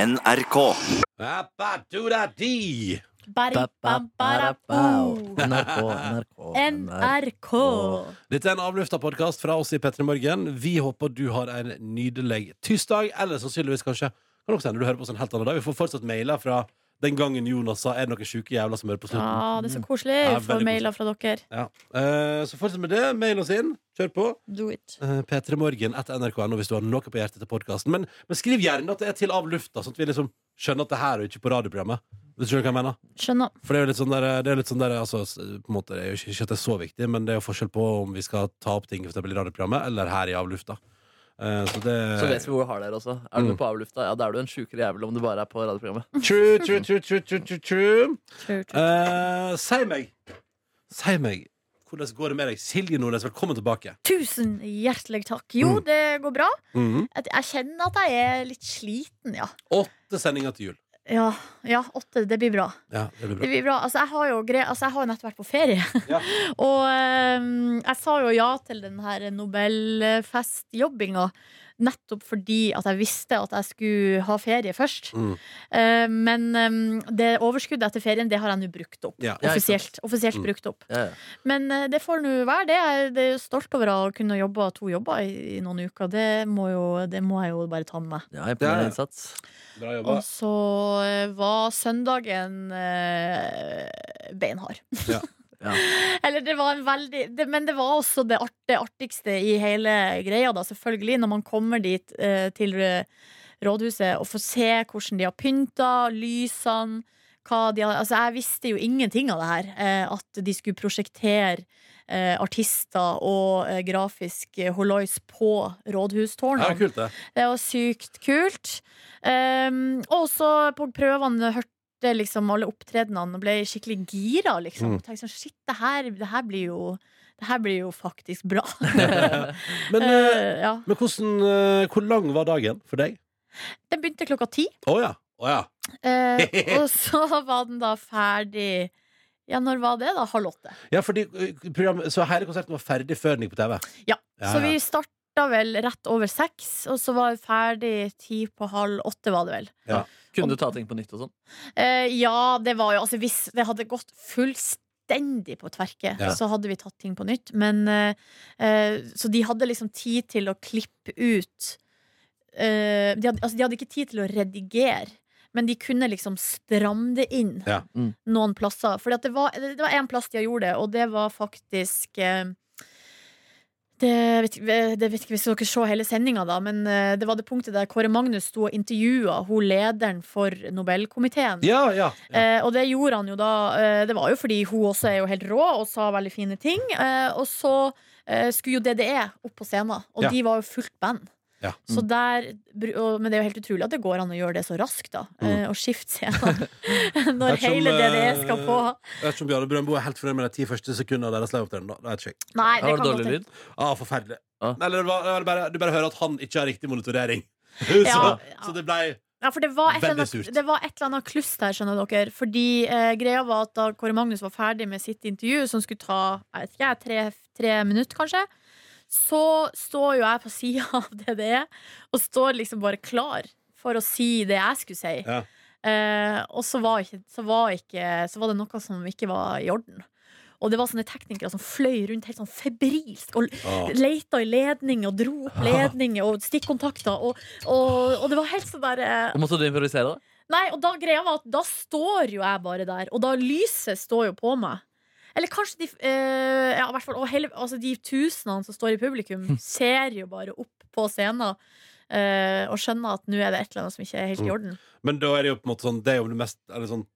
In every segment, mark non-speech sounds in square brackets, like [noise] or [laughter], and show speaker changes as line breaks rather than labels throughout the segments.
NRK.
Abaduradi.
Bari, bam, bara, bo.
NRK, NRK.
NRK.
Dette er en avlufta podkast fra oss i P3 Morgen. Vi håper du har en nydelig tirsdag, eller sannsynligvis kanskje kan også hende du hører på oss en helt annen dag. Vi får fortsatt mailer fra den gangen Jonas sa 'er det noen sjuke jævler som hører på slutten'.
Ja, det er så koselig
Ja,
å få
veldig
mailer fra dere.
Ja. Eh, så fortsett med det. Mail oss inn. Kjør på.
Do it.
Uh, P3morgen etter nrk.no hvis du har noe på hjertet til podkasten. Men, men skriv gjerne at det er til av lufta, sånn at vi liksom skjønner at det her er jo ikke på radioprogrammet. Hvis Du skjønner hva jeg mener?
Skjønner.
For det er jo litt sånn der, det er litt sånn der altså, s- på en måte, det er jo ikke, ikke at det er så viktig, men det er jo forskjell på om vi skal ta opp ting for eksempel i radioprogrammet eller her i av lufta. Eh, så det
Så vet vi hvor du har det her også. Er sånn. du
Mm.
med på avlufta, ja, da er du en sjukere jævel om du bare er
[laughs]
på radioprogrammet.
True, true, true, true, true, true, true.
True, true.
Eh, si meg, si meg, hvordan går det med deg? Silje Nordnes, velkommen tilbake.
Tusen hjertelig takk. Jo,
Mm.
det går bra.
Mhm.
Jeg jeg kjenner at jeg er litt sliten, ja.
Åtte sendinger til jul.
Ja, ja åtte. Det blir bra.
Ja, det blir bra.
Det blir bra. Altså, jeg har jo gre altså, jeg har jo nettopp vært på ferie.
Ja.
[laughs] og ehm, jeg sa jo ja til den her Nobelfestjobbinga nettopp fordi at jeg visste at jeg skulle ha ferie først.
Mm.
Eh, men ehm, det overskuddet etter ferien, det har jeg nå brukt opp.
Ja.
Ja, ikke
Offisielt, offisielt
Mm.
brukt opp.
Ja, ja.
Men eh, det får nå være det. Jeg det er jo stolt over å kunne jobbe to jobber i, i noen uker. Det må, jo, det må jeg jo bare ta med meg.
ja Imponerende
Ja, ja.
innsats.
Bra jobba.
Og så eh, var søndagen eh, beinhard.
[laughs] Ja.
Ja.
Eller det var en veldig det, Men det var også det, art, det artigste i hele greia, da, selvfølgelig, når man kommer dit eh, til eh, rådhuset og får se hvordan de har pynta, lysene hva de har, altså Jeg visste jo ingenting av det her. Eh, at de skulle prosjektere eh, artister og eh, grafisk eh, holois på
Ja,
rådhustårnene.
kult det.
Det var sykt kult. Um, og så på prøvene hørte liksom alle opptredenene og ble skikkelig gira, liksom.
Mm.
Tenkte sånn, shit, det her, det her blir jo det her blir jo faktisk bra.
Men, eh,
Eh, [laughs] ja.
men hvordan, eh, hvor lang var dagen for deg?
Den begynte klokka ti,
Å ja. Å ja.
eh,
[laughs]
og så var den da ferdig Ja, når var det, da? Halv åtte.
ja fordi, eh, program, så hele konserten var ferdig før den gikk på TV?
Ja.
Ja,
Så
ja.
vi starta vel rett over seks, og så var vi ferdig ti på halv åtte, var det vel.
Kunne du ta ting på nytt og sånn?
Eh, ja, det var jo altså, Hvis det hadde gått fullstendig på tverke,
Ja.
så hadde vi tatt ting på nytt. Men, eh, eh, så de hadde liksom tid til å klippe ut eh, de, hadde, altså, de hadde ikke tid til å redigere. Men de kunne liksom stramme det inn
Ja.
Mm.
noen plasser. For det var det var én plass de gjorde det, og det var faktisk eh, det vet, ikke- det vet ikke hvis dere så hele sendinga, da, men eh, det var det punktet der Kåre Magnus sto og intervjua hun lederen for Nobelkomiteen.
Ja, ja. ja.
Eh, og det gjorde han jo da eh, Det var jo fordi hun også er jo helt rå og sa veldig fine ting. Eh, og så eh, skulle jo DDE opp på scenen, og
Ja.
de var jo fullt band.
Ja.
Så
Mm.
der, bru- og, men det er jo helt utrolig at det går an å gjøre det så raskt, da. eh,
Mm.
Og skifte scenen [laughs] når
Ettersom,
hele DDE
eh,
skal på.
Jeg vet ikke om Bjarne Brøndbo er helt fornøyd med de ti første sekundene av deres liveopptreden. da. Det vet ikke jeg.
Nei,
Ja,
det kan
var det
godt
dårlig
hende.
lyd?
Ah, forferdelig.
Ah.
Eller det var, det var bare, du bare hører at han ikke har riktig monitorering. [laughs] så,
Ja, ja.
så det blei
Ja, for det var, et eller
Veldig
annet,
surt.
det var et eller annet kluss der, skjønner dere. Fordi eh, greia var at da Kåre Magnus var ferdig med sitt intervju, som skulle ta jeg vet ikke, tre, tre minutter, kanskje, så står jo jeg på sida [laughs] av DDE og står liksom bare klar for å si det jeg skulle si.
Ja.
Eh, og så var, ikke, så, var ikke, så var det noe som ikke var i orden. Og det var sånne teknikere som fløy rundt helt sånn febrilsk og
ah.
leita i ledning og dro
[laughs]
opp ledninger og stikkontakter. Og, og, og det var helt sånn der eh,
Og måtte du improvisere det?
Nei, og da greia var at da står jo jeg bare der, og da lyset står jo på meg. Eller kanskje de eh, Ja, i hvert fall. Og hele, altså de tusenene som står i publikum,
Hm.
ser jo bare opp på scenen. eh, og skjønner at nå er det et eller annet som ikke er helt
Hm.
i orden.
Men da er det jo på en måte sånn Det er jo det mest eller sånn,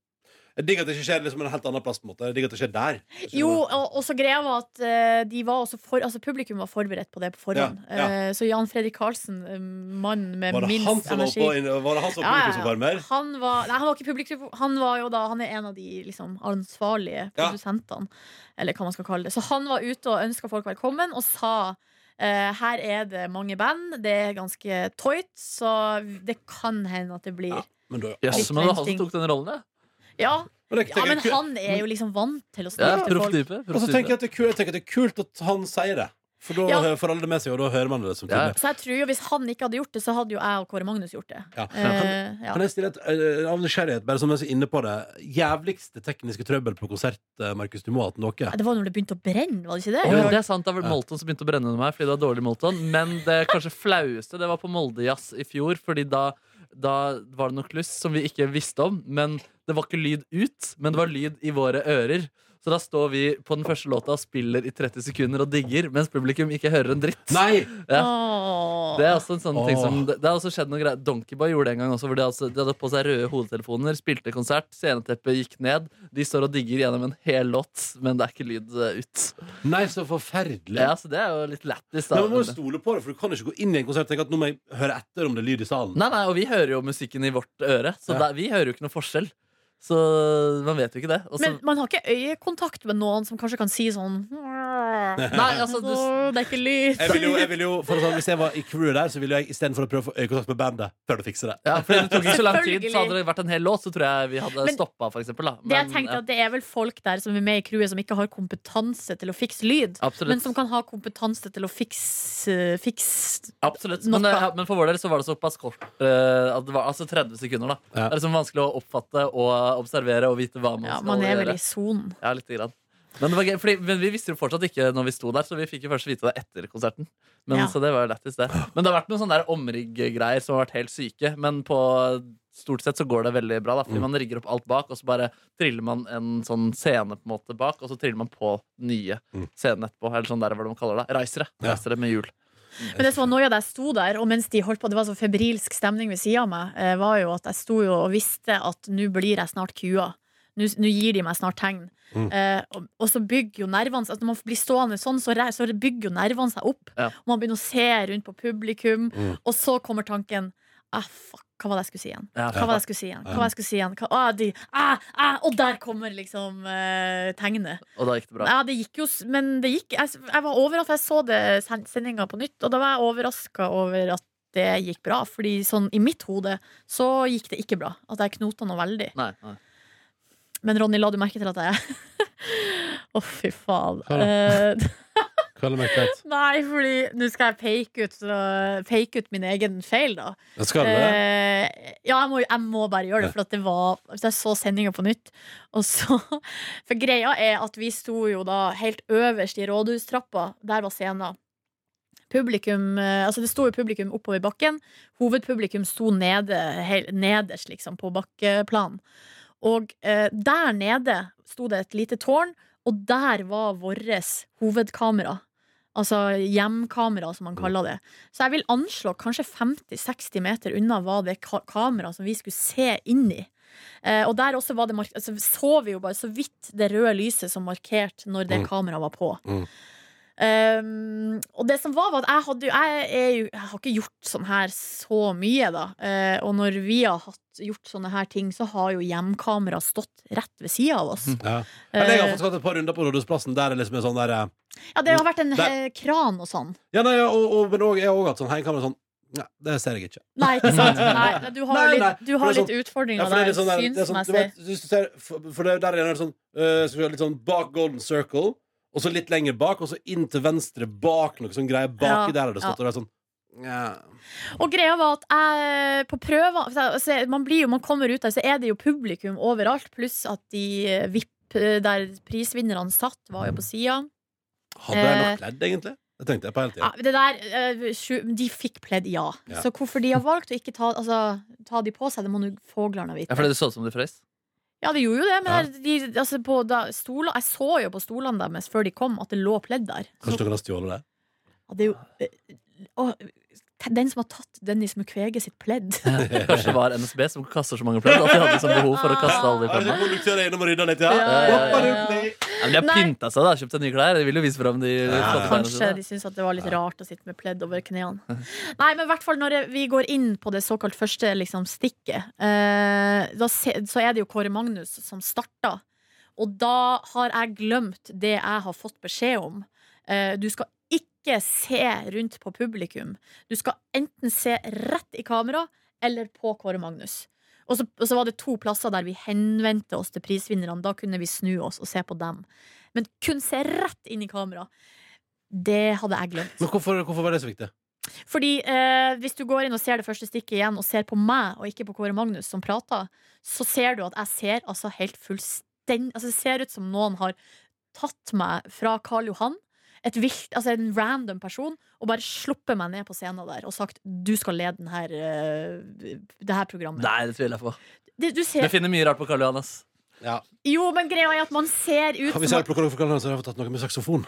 Jeg digger at det ikke skjer liksom en helt annen plass. på en måte Jeg digger at det skjer der. Skjønner
Jo,
du?
og, og så greia var at eh, de var også for, altså publikum var forberedt på det på forhånd.
Ja, ja.
Eh, så Jan Fredrik Karlsen, eh, mannen med
var det
minst
han som var
energi
på, inn- var det han som var på
Ja, ja, ja.
publikumsoppvarmer?
Han var, nei, han var ikke publikum Han var jo da, han er en av de liksom, ansvarlige
Ja.
produsentene Eller hva man skal kalle det Så han var ute og ønsket folk velkommen Og sa eh, her er det mange band Det er ganske tøyt Så det kan hende at det blir
Ja.
Ja,
Men da
Jøss,
Litt
men det var han
venting.
som tok den rollen, ja.
ja,
Men det- tenker
men
jeg-
han er jo liksom vant til å
ja
snakke til
proff
folk
type.
Og
proff
så
type.
tenker jeg at det er kult, jeg tenker at det er kult at han sier det. For da
Ja.
får alle det med seg, og da hører man det
Ja.
samtidig.
Så jeg tror jo hvis han ikke hadde gjort det, så hadde jo jeg og Kåre Magnus gjort det.
Ja.
Eh, ja.
Kan jeg stille et eh, av nysgjerrighet, bare som jeg er så inne på det Jævligste tekniske trøbbel på konsert, eh, Markus, du må ha hatt noe.
Nei, Det var når det begynte å brenne, var det ikke det?
Å,
Ja.
det er sant, det var Molton som begynte å brenne under meg fordi det var dårlig Molton. Men det kanskje flaueste det var på Moldejazz i fjor, fordi da, da var det noe kluss som vi ikke visste om. Men det var ikke lyd ut, men det var lyd i våre ører. Så da står vi på den første låta og spiller i 30 sekunder og digger, mens publikum ikke hører en dritt.
Nei!
Ja.
Åh.
Det er også en sånn ting
Åh.
som Det det har også skjedd noe greier Donkeyboy gjorde det en gang også Hvor de, altså, de hadde på seg røde hodetelefoner Spilte konsert, sceneteppet gikk ned De står og digger gjennom en hel låt Men det er ikke lyd eh, ut
Nei, så forferdelig.
Ja, så det er jo litt lættis
Nei,
da
man må jo stole på det, for du kan ikke gå inn i en konsert og tenke at nå må jeg høre etter om det er lyd i salen.
Nei, nei, og vi hører jo musikken i vårt øre Så
Ja.
da- vi hører jo ikke noe forskjell Så man vet jo ikke det Og så-
Men man har ikke øyekontakt med noen som kanskje kan si sånn
Nei, altså du,
«Åh, Det er ikke lyd.
Jeg vil jo, jeg vil jo for å si, Hvis jeg var i crewet der, så ville jeg istedenfor å prøve å få øyekontakt med bandet, prøvd å fikse det.
ja, fordi det tok jo så lang tid
Selvfølgelig.
Så hadde det vært en hel låt Så tror jeg vi hadde
Men-
stoppet for eksempel da.
Det jeg
Men,
tenkte
ja,
at det er vel folk der som er med i crewet, som ikke har kompetanse til å fikse lyd.
Absolutt
Men som kan ha kompetanse til å fikse, fikse
Absolutt, men,
Noe.
ja, men for vår del så var det såpass kort eh, at det var, Altså 30 sekunder da
Ja.
Det er liksom vanskelig å oppfatte og observere Og vite hva man
Ja,
skal
man er vel
gjøre
i sonen.
Ja, litt grann men, det var gøy, fordi, men vi visste jo fortsatt ikke når vi sto der Så vi fikk jo først vite det etter konserten Men
Ja.
så det var jo lettest det Men det har vært noen sånne der omrigg-greier som har vært helt syke Men på stort sett så går det veldig bra da Fordi
Mm.
man rigger opp alt bak Og så bare triller man en sånn scene på en måte bak Og så triller man på nye
Mm.
scenen etterpå Eller sånn der, hva de kaller det Reisere,
Ja.
reisere med hjul
Men det som var noia da jeg sto der, og mens de holdt på, det var så febrilsk stemning ved sida av meg, eh, var jo at jeg sto jo og visste at nå blir jeg snart kua. Nå s- nå gir de meg snart tegn.
Mm.
Eh, og, og så bygger jo nervene seg altså Når man blir stående sånn, så, re- så bygger jo nervene seg opp.
Ja.
Og man begynner å se rundt på publikum,
Mm.
og så kommer tanken ah, fuck, Hva var det jeg skulle si igjen?
Ja,
Hva var det jeg skulle si igjen? Hva var det jeg skulle si igjen? Hva, ah, de, ah, ah, og der kommer liksom eh, tegnet.
Og da gikk det bra
Ja, det gikk jo, s- men det gikk Jeg, jeg var overraska, jeg så det sen- sendinga på nytt, og da var jeg overraska over at det gikk bra. Fordi sånn i mitt hode så gikk det ikke bra. At jeg knota noe veldig.
Nei, nei.
Men Ronny, la du merke til at jeg [laughs] Å, fy faen.
Hva da?
Eh, [laughs]
Kalle meg Knut.
nei, fordi nå skal jeg peke ut, så- peke ut min egen feil, da.
Jeg skal det.
Eh, ja, jeg må, jeg må bare gjøre det, for at det var altså, Jeg så sendinga på nytt, og så [laughs] For greia er at vi sto jo da helt øverst i rådhustrappa. Der var scenen. Publikum, eh, altså Det sto jo publikum oppover bakken. Hovedpublikum sto nede, hel- nederst, liksom, på bakkeplan. Og eh, der nede sto det et lite tårn, og der var vårt hovedkamera. Altså hjemkamera, som man
Mm.
kaller det. Så jeg vil anslå kanskje 50-60 meter unna var det ka kameraet som vi skulle se inn i. Eh, og der også var det mark altså, så vi jo bare så vidt det røde lyset som markerte når det
Mm.
kameraet var på.
Mm.
Um, og det som var, var at jeg, hadde, jo- jeg, er jo, jeg har ikke gjort sånn her så mye, da. Eh, og når vi har hatt, gjort sånne her ting, så har jo hjemkameraet stått rett ved sida av oss.
Mm. Ja. Men jeg har
Eh,
faktisk hatt et par runder på Rådhusplassen der det liksom er sånn der eh,
ja, det har vært en
Der-
eh, kran og sånn.
Ja, nei, ja, og, og, men også, jeg har også hatt sånn heikamera sånn Nei, det ser jeg ikke.
Nei, ikke sant? Nei, nei, du har
[laughs] Nei, nei,
litt, du
for
har
det er
litt utfordringer
Ja, for det er
der,
litt sånn der, det er sånn, du
synsmessig.
vet, hvis du ser, for, for det, er der er det sånn, øh, så litt sånn bak Golden Circle, og så litt lenger bak, og så inn til venstre bak noe sånn greie. Baki
Ja,
der har det
ja.
stått, og det er sånn ja.
Og greia var at jeg på prøver altså, man, blir jo, man kommer ut der, så er det jo publikum overalt, pluss at de eh, VIP eh, der prisvinnerne satt, var jo på sida.
Hadde
Eh.
jeg nok kledd, egentlig? Det tenkte jeg på hele
Ja,
tiden.
det der eh, sju- De fikk pledd ja.
Ja.
Så hvorfor de har valgt å ikke ta, altså, ta de på seg, det må nå fuglene vite.
Ja, fordi det så ut som du frøs [laughs]
Ja, det gjorde jo det, men
Ja.
der, de, altså, på, da, stoler, jeg så jo på stolene deres før de kom, at det lå pledd der. Så,
Kanskje noen har stjålet det?
ja, det er jo eh, å, Den som har tatt Dennis Mukwege sitt pledd.
Kanskje det var NSB som kaster så mange pledd At de hadde liksom behov for å kaste alle
Er
de
det
fremmede
sånn konduktør er innom og rydder litt, ja?
Ja,
ja,
Hoppa
ja,
rundt
ja.
i.
ja, men De har
Nei.
pynta seg, da, kjøpt seg nye klær De vil jo vise fram de
Ja.
flotte klærne
Kanskje
sine
de syntes at det var litt rart å sitte med pledd over knærne. Nei, men i hvert fall når vi går inn på det såkalt første liksom, stikket, eh, da se, så er det jo Kåre Magnus som starta. Og da har jeg glemt det jeg har fått beskjed om. Eh, du skal ikke se rundt på publikum. Du skal enten se rett i kamera eller på Kåre Magnus. Og så, og så var det to plasser der vi henvendte oss til prisvinnerne. Da kunne vi snu oss og se på dem. Men kun se rett inn i kamera. Det hadde jeg glemt.
Men hvorfor, hvorfor var det så viktig?
Fordi eh, hvis du går inn og ser det første stikket igjen, og ser på meg og ikke på Kåre Magnus som prater, så ser du at jeg ser altså helt fullstendig Altså, det ser ut som noen har tatt meg fra Karl Johan, et vilt, altså en random person, og bare sluppet meg ned på scenen der og sagt 'du skal lede den her, eh, det her programmet'.
Nei, det tviler jeg på.
Det, du
Vi
ser,
finner mye rart på Karl Johan. ass.
Ja.
jo, men greia er at man ser ut
Hvis jeg
som
hadde plukket noe for kalenderen, så hadde jeg fått tatt noe med saksofon.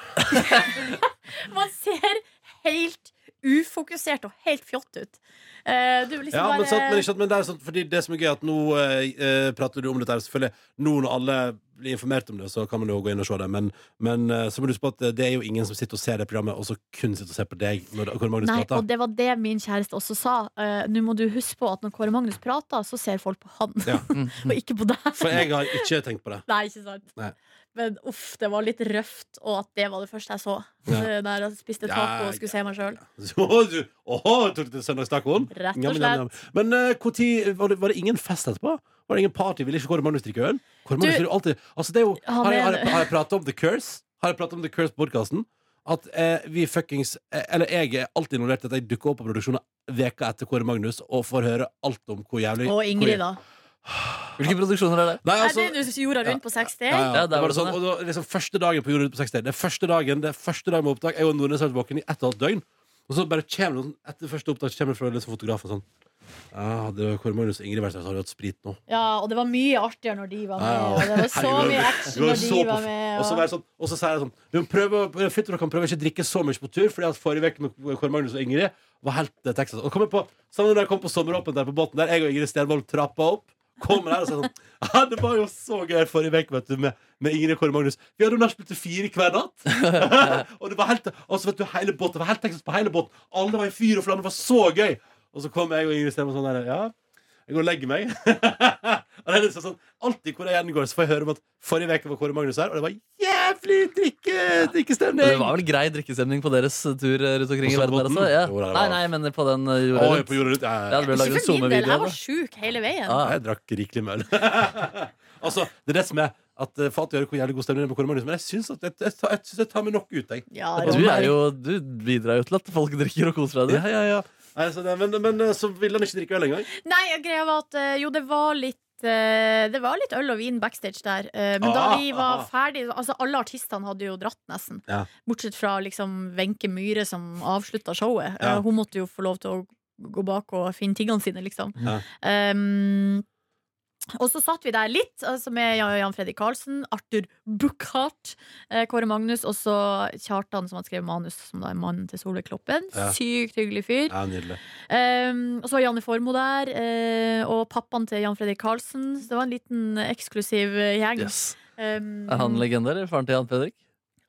at man ser helt ufokusert og helt fjott ut. Eh, du liksom
Ja,
bare
men, sant, men, ikke sant, men det er sånn, fordi det som er gøy, er at nå eh, eh, prater du om dette her, selvfølgelig. Nå når alle blir informert om det, så kan man jo gå inn og se det. Men, men eh, så må du huske på at det er jo ingen som sitter og ser det programmet, og så kun sitter og ser på deg. Når, hvor Magnus
Nei,
prater.
og det var det min kjæreste også sa. Eh, Nå må du huske på at når Kåre Magnus prater, så ser folk på han,
Ja.
[laughs] og ikke på deg.
For jeg har ikke tenkt på det.
[laughs]
[laughs]
Nei, ikke sant?
Nei.
Men uff, det var litt røft, og at det var det første jeg så.
Ja.
Eh, [laughs] Der jeg spiste
Ja,
taco og skulle se meg sjøl.
Så du Åhå, tok du til søndagstacoen?
Rett og
Njam, njam, njam. Men eh, hvor tid- var, det, var det ingen fest etterpå? Var det ingen party? Ville ikke Kåre Magnus drikke øl? Kåre Magnus
Du-
er jo alltid Altså, det er jo
Han
Har jeg,
er
har
det.
jeg, har jeg pratet om The Curse? Har jeg pratet om The Curse-podkasten? At eh, vi fuckings eh, Eller jeg er alltid involvert i at jeg dukker opp på produksjoner veka etter Kåre Magnus og får høre alt om hvor jævlig
Og Ingrid, da.
Hvilke produksjoner er det?
Nei,
Er
altså,
det du jorda rundt på 60?
ja, ja.
Ja,
det
der var
var det
det
sånn,
sånn,
og da, liksom første dagen på Jorda rundt på 60 Det er første dagen Det er første dagen med opptak Jeg og Nordnes har vært våken i ett og et halvt døgn Og så bare kommer det sånn Etter første opptak så kommer det fra liksom, fotografen sånn Ja, hadde Kåre Magnus og Ingrid vært der Så hadde vi hatt sprit nå
Ja, og det var mye artigere når de var med.
Ja, ja.
Og det var
[laughs]
så
Herregud,
mye
det
action
var
når
så
de
på-
var med.
Og så var jeg sånn Og så sier jeg sånn Du må prøve å- Fint dere kan prøve å Ikke drikke så mye på tur Fordi at forrige vek Med Kåre Magnus og Ingrid Var helt eh, Texas Og kommer på Sammen da jeg kom på sommeråpent Der på båten der Jeg og Ingrid Stenvold Trappa opp Kommer her og sier sånn [laughs] Ja, det var jo så gøy Forrige vek vet du Med, med Ingrid og Kåre Magnus Vi hadde jo nærmest blitt til fire hver natt [laughs] Og det var helt Og så vet du Hele båten Det var helt Texas på hele båten Alle var i fyr og flamme Det var så gøy Og så kom jeg og Ingrid Stenvold sånn der Ja jeg går og legger meg. [laughs] og det er liksom sånn, Alltid hvor jeg gjengår, så får jeg høre om at forrige uke var Kåre Magnus her, og det var jævlig drikke, drikkestemning!
Det var vel grei drikkestemning på deres tur eh, rundt omkring i
På
verden? der
Sandbotn?
også ja.
Jo, der var-
Nei, nei, men på den eh, jorda
Oi,
rundt.
på jorda rundt. Ja,
Ja,
ja,
det
ja.
ble
Ikke
laget
for min del, jeg
SoMe-video av
var
det.
sjuk hele veien.
Ja.
Jeg drakk rikelig med øl. [laughs] altså, det er det som er at eh, Faen, jeg hører hvor jævlig god stemning det er med Kåre Magnus, men jeg syns at jeg, jeg, tar- jeg, synes jeg tar med nok ut, jeg.
Ja,
Du, er
Ronny.
jo, du bidrar jo til at folk drikker og koser seg.
Ja, ja, ja. Nei, så det, men, men eh, så ville han ikke drikke øl engang.
Nei, greia var at eh, jo, det var litt eh, det var litt øl og vin backstage der, eh, men da
Ah,
vi var
ah.
ferdig Altså Alle artistene hadde jo dratt, nesten.
Ja.
Bortsett fra liksom Wenche Myhre, som avslutta showet.
Ja.
Eh, hun måtte jo få lov til å gå bak og finne tingene sine, liksom.
Ja.
Um, og så satt vi der litt, altså med Jan Jan Fredrik Karlsen, Arthur Buchardt, eh, Kåre Magnus og så Kjartan, som hadde skrevet manus, som da er mannen til Solveig Kloppen.
Ja.
Sykt hyggelig fyr.
Ja, nydelig.
Um, og så var Janne Formoe der, eh, og pappaen til Jan Fredrik Karlsen. Så det var en liten eh, eksklusiv eh, gjeng.
Yes.
Um,
Er han legende, eller faren til Jan Fredrik?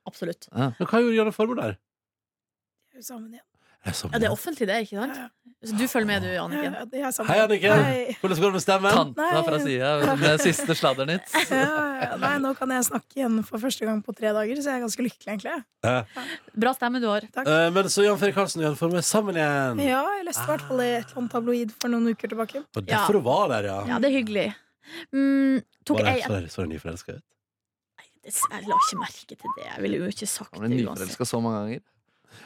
absolutt.
Men hva gjorde Janne Formoe der?
Sammen igjen.
Jeg så-
Ja, det er offentlig, det, ikke sant? Så du følger med, du, Anniken.
Ja, Jeg er sammen.
Hei, Anniken.
Hei.
Hvordan går det med stemmen?
Tanta fra sida med siste sladdernytt.
Ja, ja, ja. Nei, nå kan jeg snakke igjen for første gang på tre dager, så jeg er ganske lykkelig, egentlig.
Bra stemme du har.
Eh, men så Jan Fredrik Karlsen og Janne Formoe er sammen igjen.
Ja, jeg leste i hvert fall i et eller annet tabloid for noen uker tilbake.
Det var derfor du var der, ja.
Ja, det er hyggelig. Mm, tok
Var det
jeg, jeg,
så, så nyforelska ut?
jeg la ikke merke til det. Jeg ville jo ikke sagt
Han
det
ble
uansett.
nyforelska så mange ganger.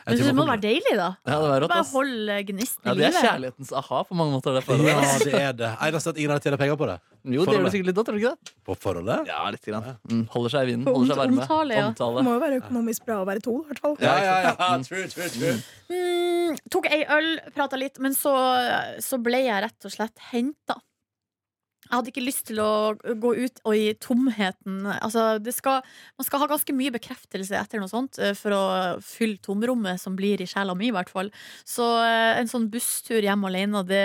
Men det må være deilig, da.
Ja, det var rått,
Bare
ass.
hold eh, gnisten
Ja,
i
det er
livet.
kjærlighetens aha på mange måter. Det
Ja,
forholdet.
det er det. Eneste at ingen har tjent penger på det.
Jo, det gjør du sikkert litt da, tror du ikke det?
På forholdet?
Ja, litt grann. Mm, holder seg i vinden,
På
holder seg varme.
omtale, ja.
Det
Omtale.
må jo være økonomisk bra å være to, i hvert fall.
Ja,
True, true, true.
Mm, tok ei øl, prata litt, men så, så ble jeg rett og slett henta. Jeg hadde ikke lyst til å gå ut og i tomheten altså, det skal, Man skal ha ganske mye bekreftelse etter noe sånt eh, for å fylle tomrommet som blir i sjela mi, i hvert fall. Så eh, en sånn busstur hjem alene, det,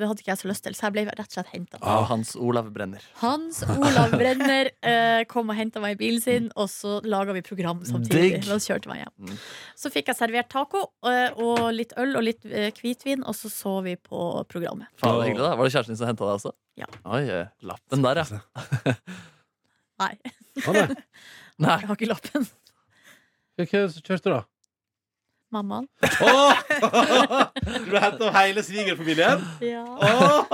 det hadde ikke jeg så lyst til, så jeg ble rett og slett henta.
Av Hans Olav Brenner.
Hans Olav Brenner eh, kom og henta meg i bilen sin, og så laga vi program samtidig.
Digg.
Da kjørte meg hjem.
Mm.
Så fikk jeg servert taco eh, og litt øl og litt eh, hvitvin, og så så vi på programmet.
Faen, det er hyggelig, da. Var det kjæresten din som henta deg også?
Ja.
Oi, eh, lappen der, ja.
Nei,
Han er.
Nei,
jeg har ikke lappen.
Hva hva kjørte du, da?
Mammaen.
[laughs]
Åh! Du ble hentet av hele svigerfamilien?
Ja.
Åh!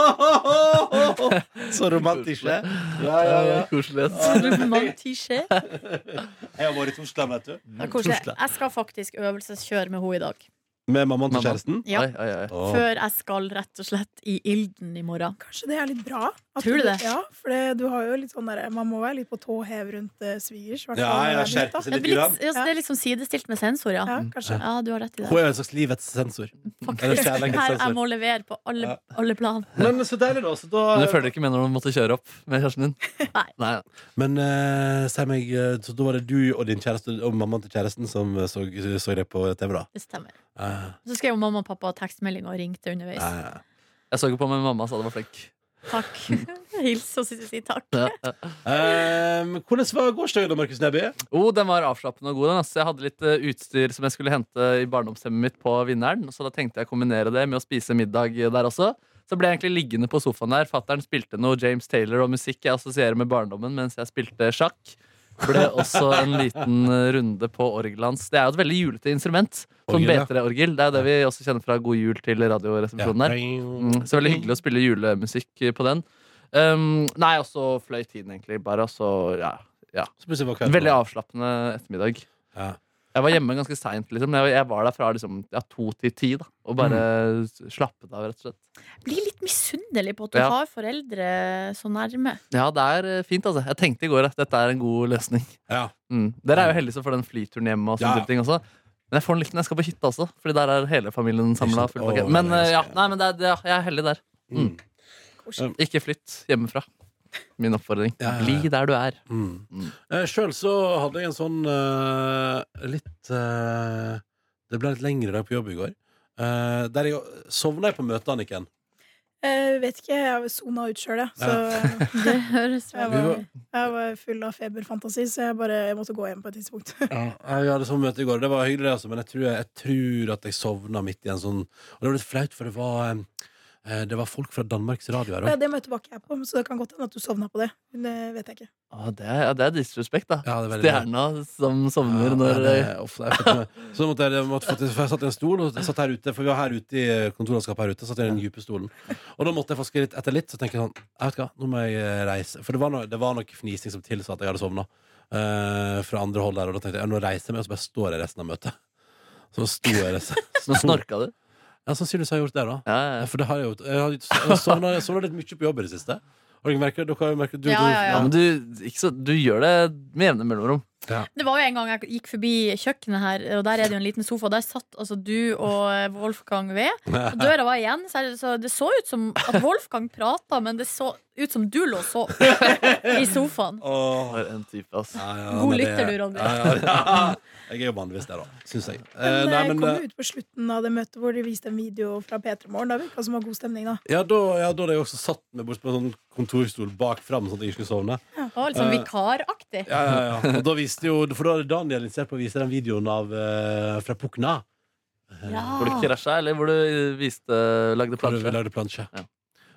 [laughs] Så romantisk. det. Ja, ja, ja.
Ja, Koselig. ass.
Romantisje.
Jeg har vært i Torsland, vet du.
Det er koselig. Jeg skal faktisk øvelseskjøre med henne i dag.
Med mammaen til
Mamma.
kjæresten?
Ja.
Oi, oi, oi.
Åh.
Før jeg skal rett og slett i ilden i morgen.
Kanskje det er litt bra? at
Tror du det?
Ja, for det, du har jo litt sånn der, Man må være litt på tå hev rundt eh, svigers. hvertfall
Ja,
når
ja,
det er nytt, da.
skjerpe seg
Det,
litt.
blir
Grann.
litt, ja, så det er liksom sidestilt med sensor, ja.
eh, Ja, kanskje.
Ja, du har rett i
Hun
det.
er en slags livets sensor. Eller
Faktisk. Her jeg
kjærlighetssensor.
må levere på alle,
Ja.
alle plan.
Men så deilig, da. Så da
Men det føler du ikke med når du måtte kjøre opp med kjæresten din?
[laughs] Nei.
Nei.
Men eh, si meg, eh, så da var det du og din kjæreste og mammaen til kjæresten som eh, så, så det på TV, da?
Det stemmer.
Eh,
Så skrev jo mamma og pappa tekstmelding og ringte underveis.
ja, ja.
Jeg så ikke på, men mamma sa det var flink.
Takk. [laughs] Hils og si si takk.
Ja, ja.
Ehm, hvordan var gårsdagen da, Markus Neby?
Oh, den var avslappende og god. Den, ass. Jeg hadde litt eh, utstyr som jeg skulle hente i barndomshjemmet mitt på Vinneren, så da tenkte jeg å kombinere det med å spise middag eh, der også. Så ble jeg egentlig liggende på sofaen der. Fattern spilte noe James Taylor og musikk jeg assosierer med barndommen, mens jeg spilte sjakk. Ble også en liten eh, runde på orgelet hans. Det er jo et veldig julete instrument. Sånn
Orgel, ja.
B3-orgel. Det er jo det vi også kjenner fra God jul til Radioresepsjonen der. Mm, så veldig hyggelig å spille julemusikk på den. Um, nei, og så fløy tiden egentlig bare, og så ja.
Så plutselig var kvelden
Veldig
over.
avslappende ettermiddag.
Ja.
Jeg var hjemme ganske seint. Liksom. Jeg, jeg var der fra liksom, ja, to til ti da, og bare slappet av, rett og slett.
Blir litt misunnelig på at du
Ja.
har foreldre så nærme.
Ja, det er eh, fint, altså. Jeg tenkte i går at dette er en god løsning.
Ja.
Mm. Dere er jo heldige som får den flyturen hjemme. Og
Ja.
sånne type ting også. Men jeg får den litt når jeg skal på hytta også, Fordi der er hele familien samla.
sant? Å,
Men,
det er
eh, ja,
skjønt.
nei, men det er, det er, jeg er heldig der.
Mm.
Ikke flytt hjemmefra. Min oppfordring.
Ja, ja, ja.
Bli der du er.
Mm.
Mm.
Eh, Sjøl så hadde jeg en sånn eh, litt eh, Det ble litt lengre dag på jobb i går. Eh, der jeg sovna jeg på møtet, Anniken.
Eh, vet ikke, jeg har sona ut sjøl, jeg. Så
Det høres
jeg,
vel
Vi
var,
var-
[laughs] jeg var full av feberfantasi, så jeg bare jeg måtte gå hjem på et tidspunkt.
Ja, vi hadde sånn møte i går. Det var hyggelig, det, altså, men jeg tror, jeg, tror at jeg sovna midt i en sånn Og det var litt flaut, for det var eh, det var folk fra Danmarks Radio her
Ja,
òg.
[laughs] det møtet var ikke jeg på, så det kan godt hende at du sovna på det. Men det vet jeg ikke.
Å, det, er, ja, det er disrespekt, da.
Ja, det er veldig bra.
Stjerna som sovner
Ja,
når
det
eh,
er ofte- jeg [laughs] fikk med- Så måtte jeg, jeg, måtte faktisk, for jeg satt i en stol og satt her ute, for vi var her ute i eh, kontorlandskapet her ute. Satt jeg i den dype stolen. Og da måtte jeg faktisk litt etter litt så tenkte jeg sånn Jeg vet ikke hva, nå må jeg eh, reise. For det var, noe, det var nok fnising som tilsa at jeg hadde sovna. fra andre hold der, og da tenkte jeg ja, nå reiser jeg meg, og så bare står jeg resten av møtet. Så sto jeg resten.
Nå snorka eh, du.
Ja, sannsynligvis har jeg gjort det, da.
Ja, ja,
Ja,
ja.
For det har jeg gjort. Jeg har- jeg har sovna- jeg har sovna litt mye på jobb i det siste. Og dere merker, dere har jo merket du,
Ja, ja,
Ja, men du, ikke så, du gjør det med jevne mellomrom.
Det var jo en gang jeg gikk forbi kjøkkenet her, og der er det jo en liten sofa. Der satt altså du og eh, Wolfgang ved. Og døra var igjen, så jeg- så det så ut som at Wolfgang prata, men det så ut som du lå og sov i sofaen.
Åh,
For en type, ass.
Ja, ja,
God
men det-
lytter du, Ronny.
Ja, ja, ja. [laughs] Jeg er jo vanligvis det, da. Syns jeg. Eh,
Men
nei,
jeg
men,
kom
eh,
jo ut på slutten av det møtet hvor de viste en video fra P3 Morgen. Da virka det som var god stemning, da.
ja, da, ja, da hadde jeg også satt meg bort på en sånn kontorstol bak fram, sånn at jeg ikke skulle sovne.
Det var litt sånn
Eh.
vikaraktig.
Ja, ja, ja. Og da viste jo, For da hadde Daniel initiert på å vise den videoen av, eh, fra Pukna.
Hvor du
Ja.
krasja, eller hvor du eh, viste, lagde
Hvor vi
plansjer.
lagde plansje.
Ja.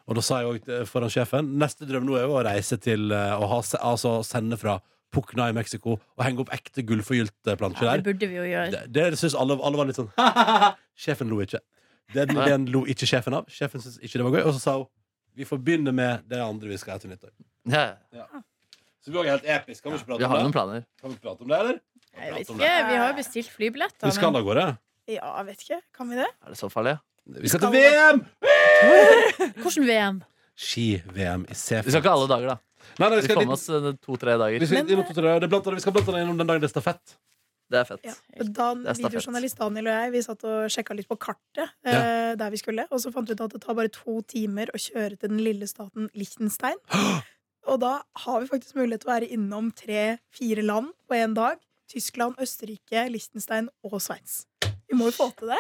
Og da sa jeg òg til- foran sjefen neste drøm nå er jo å reise til eh, å ha, se- altså, sende fra Pukna i Mexico og henge opp ekte gullforgylte plansjer
Ja,
der.
det burde vi jo gjøre.
Det, det syns alle, alle var litt sånn [laughs] Sjefen lo ikke. Den,
Nei.
den lo ikke sjefen av. Sjefen syntes ikke det var gøy. Og så sa hun vi får begynne med det andre vi skal ha til nyttår.
Ja,
Så vi var helt episk. Kan vi ikke
vi
prate
har
om
noen
det?
planer.
Kan vi prate om det, eller?
Jeg vet
Prate om
ikke, Vi har jo bestilt
Vi
flybilletter.
skal
Men
da gårde.
Ja, jeg vet ikke. Kan vi det?
Er det så farlig?
Vi skal til VM!
hvordan VM?
Ski-VM i
Vi skal
Seefeld.
ikke alle dager, da.
Nei, nei, vi
Vi
skal
får med
litt
oss eh, to-tre dager.
vi skal, vi må ta det. Det er blant annet, vi skal blant annet innom den dagen det er stafett.
Det er fett.
Ja. Dan,
Det er stafett.
videojournalist Daniel og jeg Vi satt og sjekka litt på kartet eh, der vi skulle, og så fant vi ut at det tar bare to timer å kjøre til den lille staten
[gasps]
Liechtenstein. Og da har vi faktisk mulighet til å være innom tre-fire land på én dag. Tyskland, Østerrike, Liechtenstein og Sveits. Vi må jo få til det.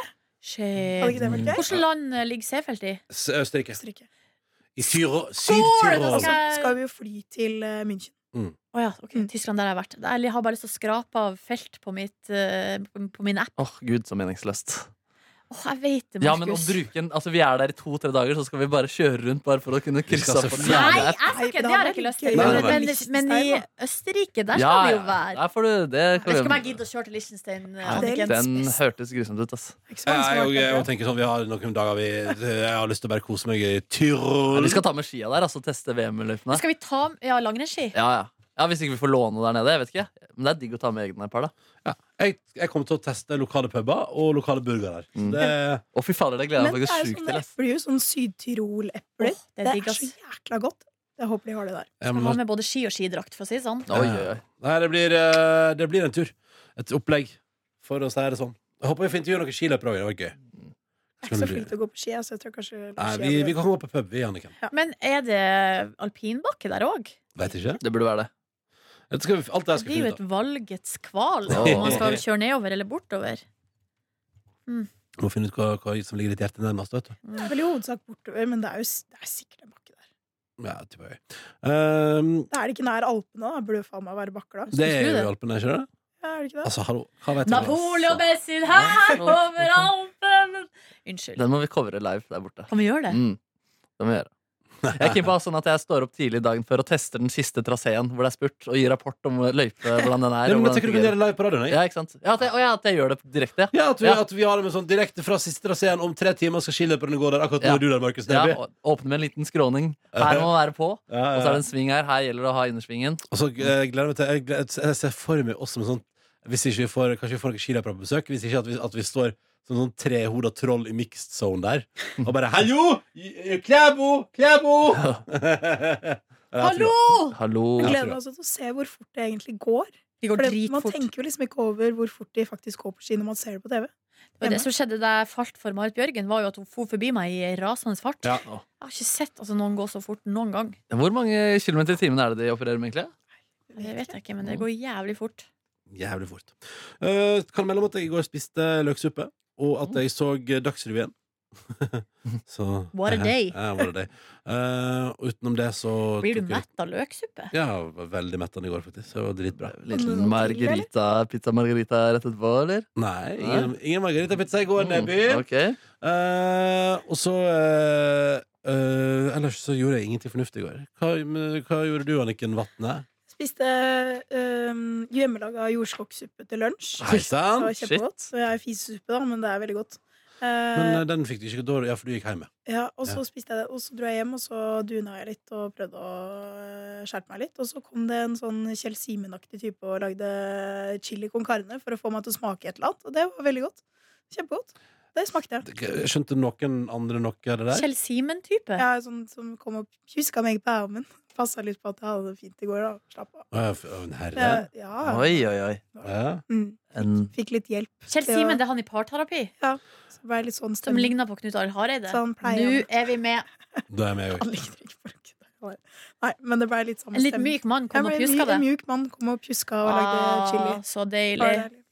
Hadde
Shit.
ikke det vært gøy?
Hvilket land eh, ligger Seefeld i?
S- Østerrike.
Østerrike.
I Syro-
Og
Syd-Tyrol.
så skal vi jo fly til eh, München.
Mm.
Mm.
Å ja, ok, Tyskland, der har jeg vært. Jeg har bare lyst til å skrape av felt på, mitt, eh, på min app.
Åh, gud, så meningsløst.
Åh, jeg vet det, Markus.
Ja, men å bruke en, altså Vi er der i to-tre dager, så skal vi bare kjøre rundt bare for å kunne
Vi
krysse
skal
av på den
selvfølgelig-
jævla
Nei,
app.
jeg skal ikke, det har jeg ikke lyst til. å
Nei,
gjøre.
nei,
Men,
nei.
men i Østerrike, der skal
Ja,
vi jo
ja,
være.
Der får du
Jeg vet
det.
ikke om jeg
Kan
gidder å kjøre til Liechtenstein. eh,
Ja,
det er litt
den
spes.
hørtes grusomt ut, ass.
Ikke så
Jeg,
vanskelig
jeg,
å være
jeg,
klar over.
tenker sånn, Vi har noen dager vi Jeg har lyst til å bare kose meg i Tyrol.
Men vi skal ta med skia der, altså teste VM-løypene.
Skal vi ta ja, langrennsski?
Ja, ja. ja, Hvis ikke vi får låne der nede. jeg vet ikke Men det er digg å ta med egne par. da
jeg, jeg kommer til å teste lokale puber og lokale burgere.
Mm.
Det,
Å fy fader, det gleder jeg
Men
meg
det er
faktisk
jo
sjukt
sånne
til. ass.
epler, jo. Sånn Syd-Tyrol-epler.
Åh, det
det,
er digg,
er
ass.
så jækla godt. Jeg håper de har det der.
jeg
Skal
må,
ha med både ski og skidrakt, for å si det sånn.
Oi, oi, oi.
nei, det, blir, eh, det blir en tur. Et opplegg, for å si det sånn. Jeg håper vi får intervjue noen skiløpere òg. Det var gøy.
Jeg er ikke så
Skjønner du?
flink til å gå på ski, jeg, så jeg tror kanskje
Nei,
ski
vi, vi
er bedre.
kan gå på pub, vi, Anniken.
Men er det alpinbakke der òg?
Vet ikke.
Det burde være det.
Dette skal vi, alt det her
Det
skal vi
blir jo
finne ut
et valgets kval om
Ja.
man
[laughs]
skal kjøre nedover eller bortover.
av. Må finne ut hva, hva som ligger ditt hjerte nærmest. vet du
Det er vel i hovedsak bortover, men det er jo s- det er sikkert en bakke der.
ja, typ jeg. Ehm,
Det er det ikke nær Alpene, da. Burde jo faen meg være bakke da.
Det er
Skulle
jo
det?
Alpene, ikke det?
Ja, er det ikke det?
Altså, hallo, hva vet du?
Napoleon med sin hær over Alpen! Unnskyld.
Den må vi covre live der borte.
Kan vi gjøre det?
Mm. Det må vi gjøre. Jeg er keen på å ha sånn at jeg står opp tidlig dagen før og tester den siste traseen hvor det er spurt, og gir rapport om løype, hvordan den
Nei,
er. og
men
hvordan
jeg tenker du kan gjøre
den fungerer.
det live på radioen. Jeg.
ja, ikke sant? Ja, at jeg, å ja, at jeg gjør det direkte, ja.
Ja, at vi,
Ja.
At vi har det med sånn direkte fra siste traseen. Om tre timer skal skiløperne gå der. Akkurat nå
Ja.
er du der, Markus
ja.
Neby.
å- Åpne med en liten skråning. Her må man være på.
Ja, ja,
Og
ja.
så er det en sving her. Her gjelder det å ha innersvingen.
Og så eh, gleder jeg meg til Jeg, gleder, jeg ser for meg også med sånn Hvis ikke vi får Kanskje vi får noen skiløpere på besøk Hvis ikke at vi, at vi står som sånn trehoda troll i mixed zone der Og bare Hallo! J- Klæbo! Klæbo! [laughs]
[laughs]
Hallo!
Hallo.
Jeg
tror
gleder
det.
meg også til å se hvor fort det egentlig går.
Vi går
For det, man
dritfort.
tenker jo liksom ikke over hvor fort de faktisk går på ski når man ser det på TV.
Og det som skjedde da jeg falt for Marit Bjørgen, var jo at hun for forbi meg i rasende fart.
Ja.
Jeg har ikke sett altså, noen gå så fort noen gang.
Hvor mange kilometer i timen er det de opererer med, egentlig?
Det vet jeg ikke, men det går jævlig fort.
Jævlig fort Eh, Kan melde om at jeg i går spiste løksuppe Og at jeg så Dagsrevyen [laughs] Så
What a day.
Ja, what a day Eh, Utenom det så
Blir
tok
du
jeg-
mett av løksuppe?
Ja, jeg var veldig mettende i går faktisk Så det var dritbra
Liten margarita, pizza margarita rett etterpå, eller?
Nei, ingen, ingen margaritapizza i går, Neby
Mm, ok.
Eh, og så eh, eh, Ellers så gjorde jeg ingenting fornuftig i går. Hva, men, hva gjorde du, Anniken Vatne?
Spiste øhm, hjemmelaga jordskokksuppe til lunsj.
Hei
Det
sann!
var kjempegodt. Så jeg er fisesuppe, da, men det er veldig godt. Eh,
Men eh, den fikk du ikke dårlig, ja, for du gikk hjem. ja.
ja, og så
ja.
spiste jeg det, og så dro jeg hjem, og så duna jeg litt og prøvde å øh, skjerpe meg litt. Og så kom det en sånn Kjell Simen-aktig type og lagde chili con carne for å få meg til å smake et eller annet, og det var veldig godt. Kjempegodt. Det smakte jeg.
Skjønte noen andre noe av det der?
Kjell Simen-type?
Jeg er sånn som kom og kjuska meg på armen. Passa litt på at jeg hadde det fint i går, da. Slapp av.
Å, ja, f- å, en herre?
Eh, Ja.
Oi, oi, oi.
Ja.
Mm.
En
Fikk litt hjelp.
Kjell
Ja.
Simen, det er han i parterapi
Så ble jeg litt sånn
som
stemning.
ligner på Knut Arild Hareide.
Sånn pleier
Nå
han.
er vi med.
Da er jeg med, jeg
Han [laughs]
òg.
likte ikke folk. Nei, men det ble litt samme
En litt
stemning.
myk mann
Ja,
kom
men
og
en
pjuska
my-
det.
En mjuk mann kom og pjuska og lagde
Ah,
chili.
så
Det var
deilig.
deilig.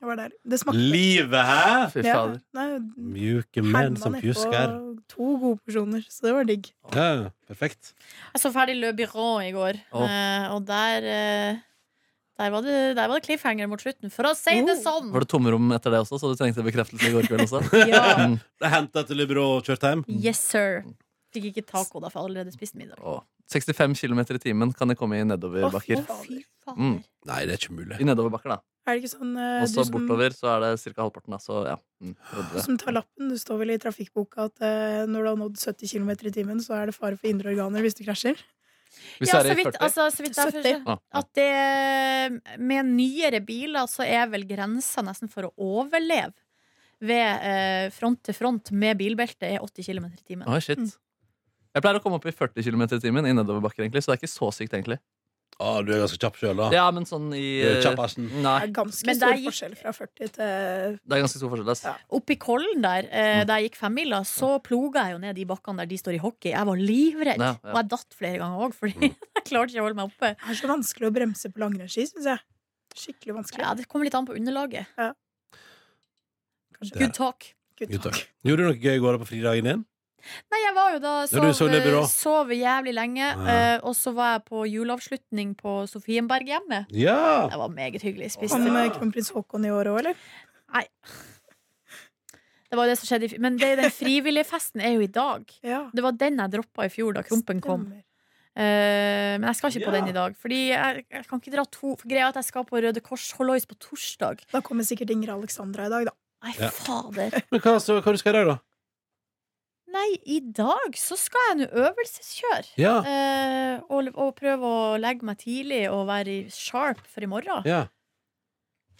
Det var deilig. Det smakte
Livet, hæ?
Fy
Ja,
fader.
nei,
Mjuke
herma
menn som
nedpå
pjusker.
To gode porsjoner, så det var digg.
Ja, perfekt.
Jeg så ferdig Le Biron i går,
Åh.
eh, og der eh, der var, det, der var det cliffhanger mot slutten, for å si det sånn!
Oh, Var det tomrom etter det også, så du trengte bekreftelse i går kveld også?
[laughs] Ja.
[laughs] Mm.
Det henta til Libro og kjørte hjem.
Yes, sir. Fikk ikke taco, da, for jeg hadde allerede spist middag.
Å, 65 km i timen kan det komme i nedoverbakker.
Å,
fy fader.
Mm.
Nei, det er ikke mulig.
I nedoverbakker, da.
Er det ikke sånn eh,
Og
du
så
som,
bortover så er det ca. halvparten, da. Så ja. Mm.
du som tar lappen? Du står vel i trafikkboka at eh, når du har nådd 70 km i timen, så er det fare for indre organer hvis du krasjer?
Hvis
Ja,
du
så
er i
vidt,
40
altså, så vidt jeg forstår.
70.
Ja, ja.
At det Med nyere biler så er vel grensa nesten for å overleve ved eh, front til front med bilbelte er 80 km i timen.
Oi, shit. Jeg pleier å komme opp i 40 km i timen i nedoverbakker, egentlig, så det er ikke så sykt, egentlig.
Å, du er ganske kjapp sjøl, da.
Ja, men sånn i
Du Ah.
eh,
er kjapp, Arsen.
Det
Nei,
er ganske
Men
stor
der gikk-
forskjell fra 40
det
til
er ganske stor forskjell, ass.
Ja.
Oppe i Kollen der, eh, der jeg gikk femmila, så ploga jeg jo ned de bakkene der de står i hockey. Jeg var livredd,
Ja, ja.
og jeg datt flere ganger òg,
Mm.
fordi [laughs] jeg klarte ikke å holde meg oppe.
Det er så vanskelig å bremse på langrennsski, syns jeg. Skikkelig vanskelig.
Ja, Det kommer litt an på underlaget.
Kanskje.
Good talk.
Good
Jo, takk.
talk.
Gjorde du noe gøy i går da på fridagen din?
Nei, jeg var jo da
Ja, du
sov, eh,
så Le Bureau.
sov jævlig lenge,
Ja.
eh, og så var jeg på juleavslutning på Sofienberghjemmet.
Ja!
Det var meget hyggelig. Spiste
Om eh, kronprins Haakon i år òg, eller?
Nei. Det var jo det som skjedde i fjor. Men det, den frivillige festen er jo i dag.
Ja.
Det var den jeg droppa i fjor, da Krompen kom.
Stemmer.
Eh, men jeg skal ikke på
Ja.
den i dag. Fordi jeg, jeg kan ikke dra to For Greia er at jeg skal på Røde Kors Hollois på torsdag.
Da kommer sikkert Inger Alexandra i dag, da.
Nei,
Ja.
fader.
Men hva, så, hva du skal i dag, da?
Nei, i dag så skal jeg nå øvelseskjøre.
Ja.
Eh, og, og prøve å legge meg tidlig og være i sharp for i morgen.
ja.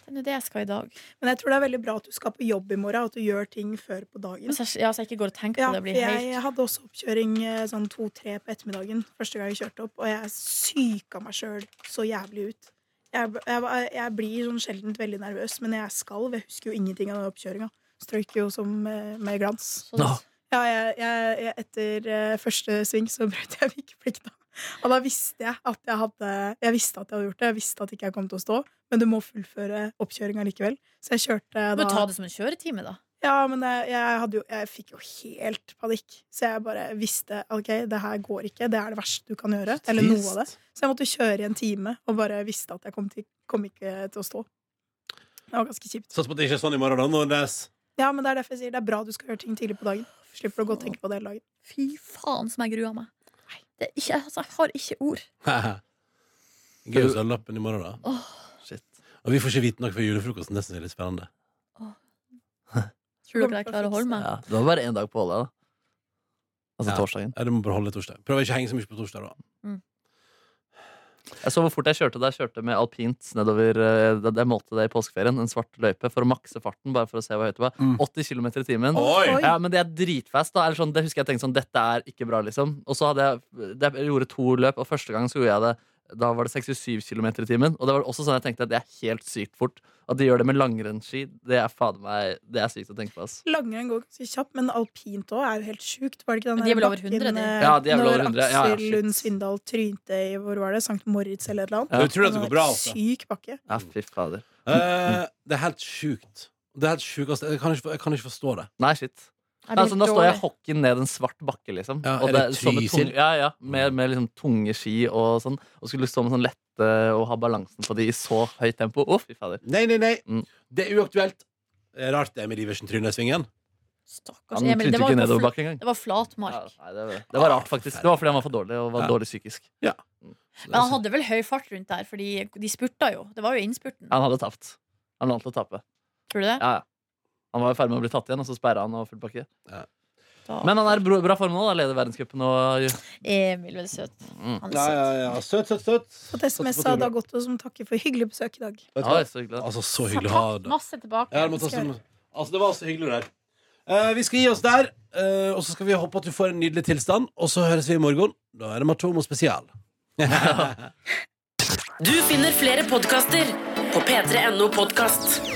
Det er nå det jeg skal i dag.
Men jeg tror det er veldig bra at du skal på jobb i morgen, og at du gjør ting før på dagen.
Så jeg, ja, så jeg ikke går og tenker
Ja,
på det.
for
Blir
jeg
helt,
hadde også oppkjøring eh, sånn to-tre på ettermiddagen første gang jeg kjørte opp, og jeg syka meg sjøl så jævlig ut. Jeg, jeg, jeg blir sånn sjeldent veldig nervøs, men jeg skalv. Jeg husker jo ingenting av den oppkjøringa. Strøyk jo som eh, med glans.
sånn,
Nå.
Ja, jeg, jeg, jeg, etter eh, første sving så brøt jeg vikeplikta. Og da visste jeg at jeg hadde Jeg visste at jeg hadde gjort det. Jeg visste at ikke jeg kom til å stå, men du må fullføre oppkjøringa likevel. Så jeg kjørte
Du
da
må ta det som en kjøretime, da.
ja, men jeg, jeg, hadde jo, jeg fikk jo helt panikk. Så jeg bare visste ok, det her går ikke. Det er det verste du kan gjøre. Eller noe av det. Så jeg måtte kjøre i en time og bare visste at jeg kom, til, kom ikke til å stå. Det var ganske kjipt.
Satser på at det ikke er sånn i morgen, da. Nordnes. [laughs]
Ja, men det er derfor jeg sier det er bra du skal gjøre ting tidlig på dagen. Slipper du å gå og tenke på det hele dagen.
Fy faen som jeg gruer meg. Det er ikke, altså, jeg har ikke ord.
Gøy å sølve lappen i morgen, da.
Shit.
Og vi får ikke vite noe før julefrokosten. Det synes jeg er litt spennende.
Tror dere jeg klarer å holde meg?
Ja, det var bare én dag på Åla, da. Altså
Ja.
torsdagen.
Ja, du må bare holde torsdag. Prøv å ikke henge så mye på torsdag, da.
Jeg så hvor fort jeg kjørte da jeg kjørte med alpint nedover eh, da- Jeg målte det i påskeferien, en svart løype, for å makse farten. Bare for å se hvor høyt det var
Mm.
80 km i timen.
Oi.
Ja, men det er dritfast. Da. Eller sånn, det husker jeg tenkte sånn, dette er ikke bra, liksom. Og så hadde jeg, det- jeg gjorde to løp, og første gang så gjorde jeg det da var det 67 km i timen. Og det var også sånn jeg tenkte at det er helt sykt fort. At de gjør det med langrennsski, det er fader meg Det er sykt å tenke på. ass.
Langrenn går ganske kjapt, men alpint òg er jo helt sjukt. Var det ikke den
Men de er
der
vel over 100, de?
eh,
Ja, de er vel over
når
100. Ja, ja,
Aksel
shit.
Lund Svindal trynte i hvor var det, Sankt Moritz eller et eller annet?
Det er utrolig at det
var
går bra,
en
altså.
Syk bakke.
Ja, fy fader.
Eh, det er helt sjukt. Det er helt sjukt. altså. Jeg kan ikke, jeg kan ikke forstå det.
Nei, shit.
Jeg blir
Altså, da står jeg
dårlig.
hockey ned en svart bakke, liksom.
Ja,
og
er det
sånne
Trysil?
tunge- Ja, ja, med, med liksom tunge ski og sånn. Og skulle stå med sånn lette og ha balansen på de i så høyt tempo. Å, fy fader.
Nei, nei, nei.
Mm.
Det er uaktuelt. Det er Rart Emil Iversen tryner i svingen.
Stakkars
Han
Emil.
trynte
Det var,
ikke
jo på
nedover
fl
bakke engang.
det var
Ja,
flatmark.
nei, det, var- det var rart, faktisk. Det var fordi han var for dårlig og var
Ja.
dårlig psykisk.
Men han hadde vel høy fart rundt der, Fordi de spurta jo. Det var jo innspurten.
Han hadde tapt. Han lå an til å tape.
Tror du det?
Ja, ja. Han var i ferd med å bli tatt igjen, og så sperra han og full pakke.
Da-
Men han er i bra bra form nå, da leder verdenscupen og
Emil, veldig søt.
mm.
Han er søt.
Søt, søt, søt.
Fått SMS av Dag Otto som takker for hyggelig besøk i dag.
Oi, så hyggelig.
Altså, så
Så
hyggelig å ha
takk
det.
masse tilbake.
Ja, det, må tas som, altså, det var så hyggelig der. Eh, vi skal gi oss der, eh, og så skal vi håpe at du får en nydelig tilstand. Og så høres vi i morgen. Da er det Matomo spesial.
Du finner flere podkaster på p3.no podkast.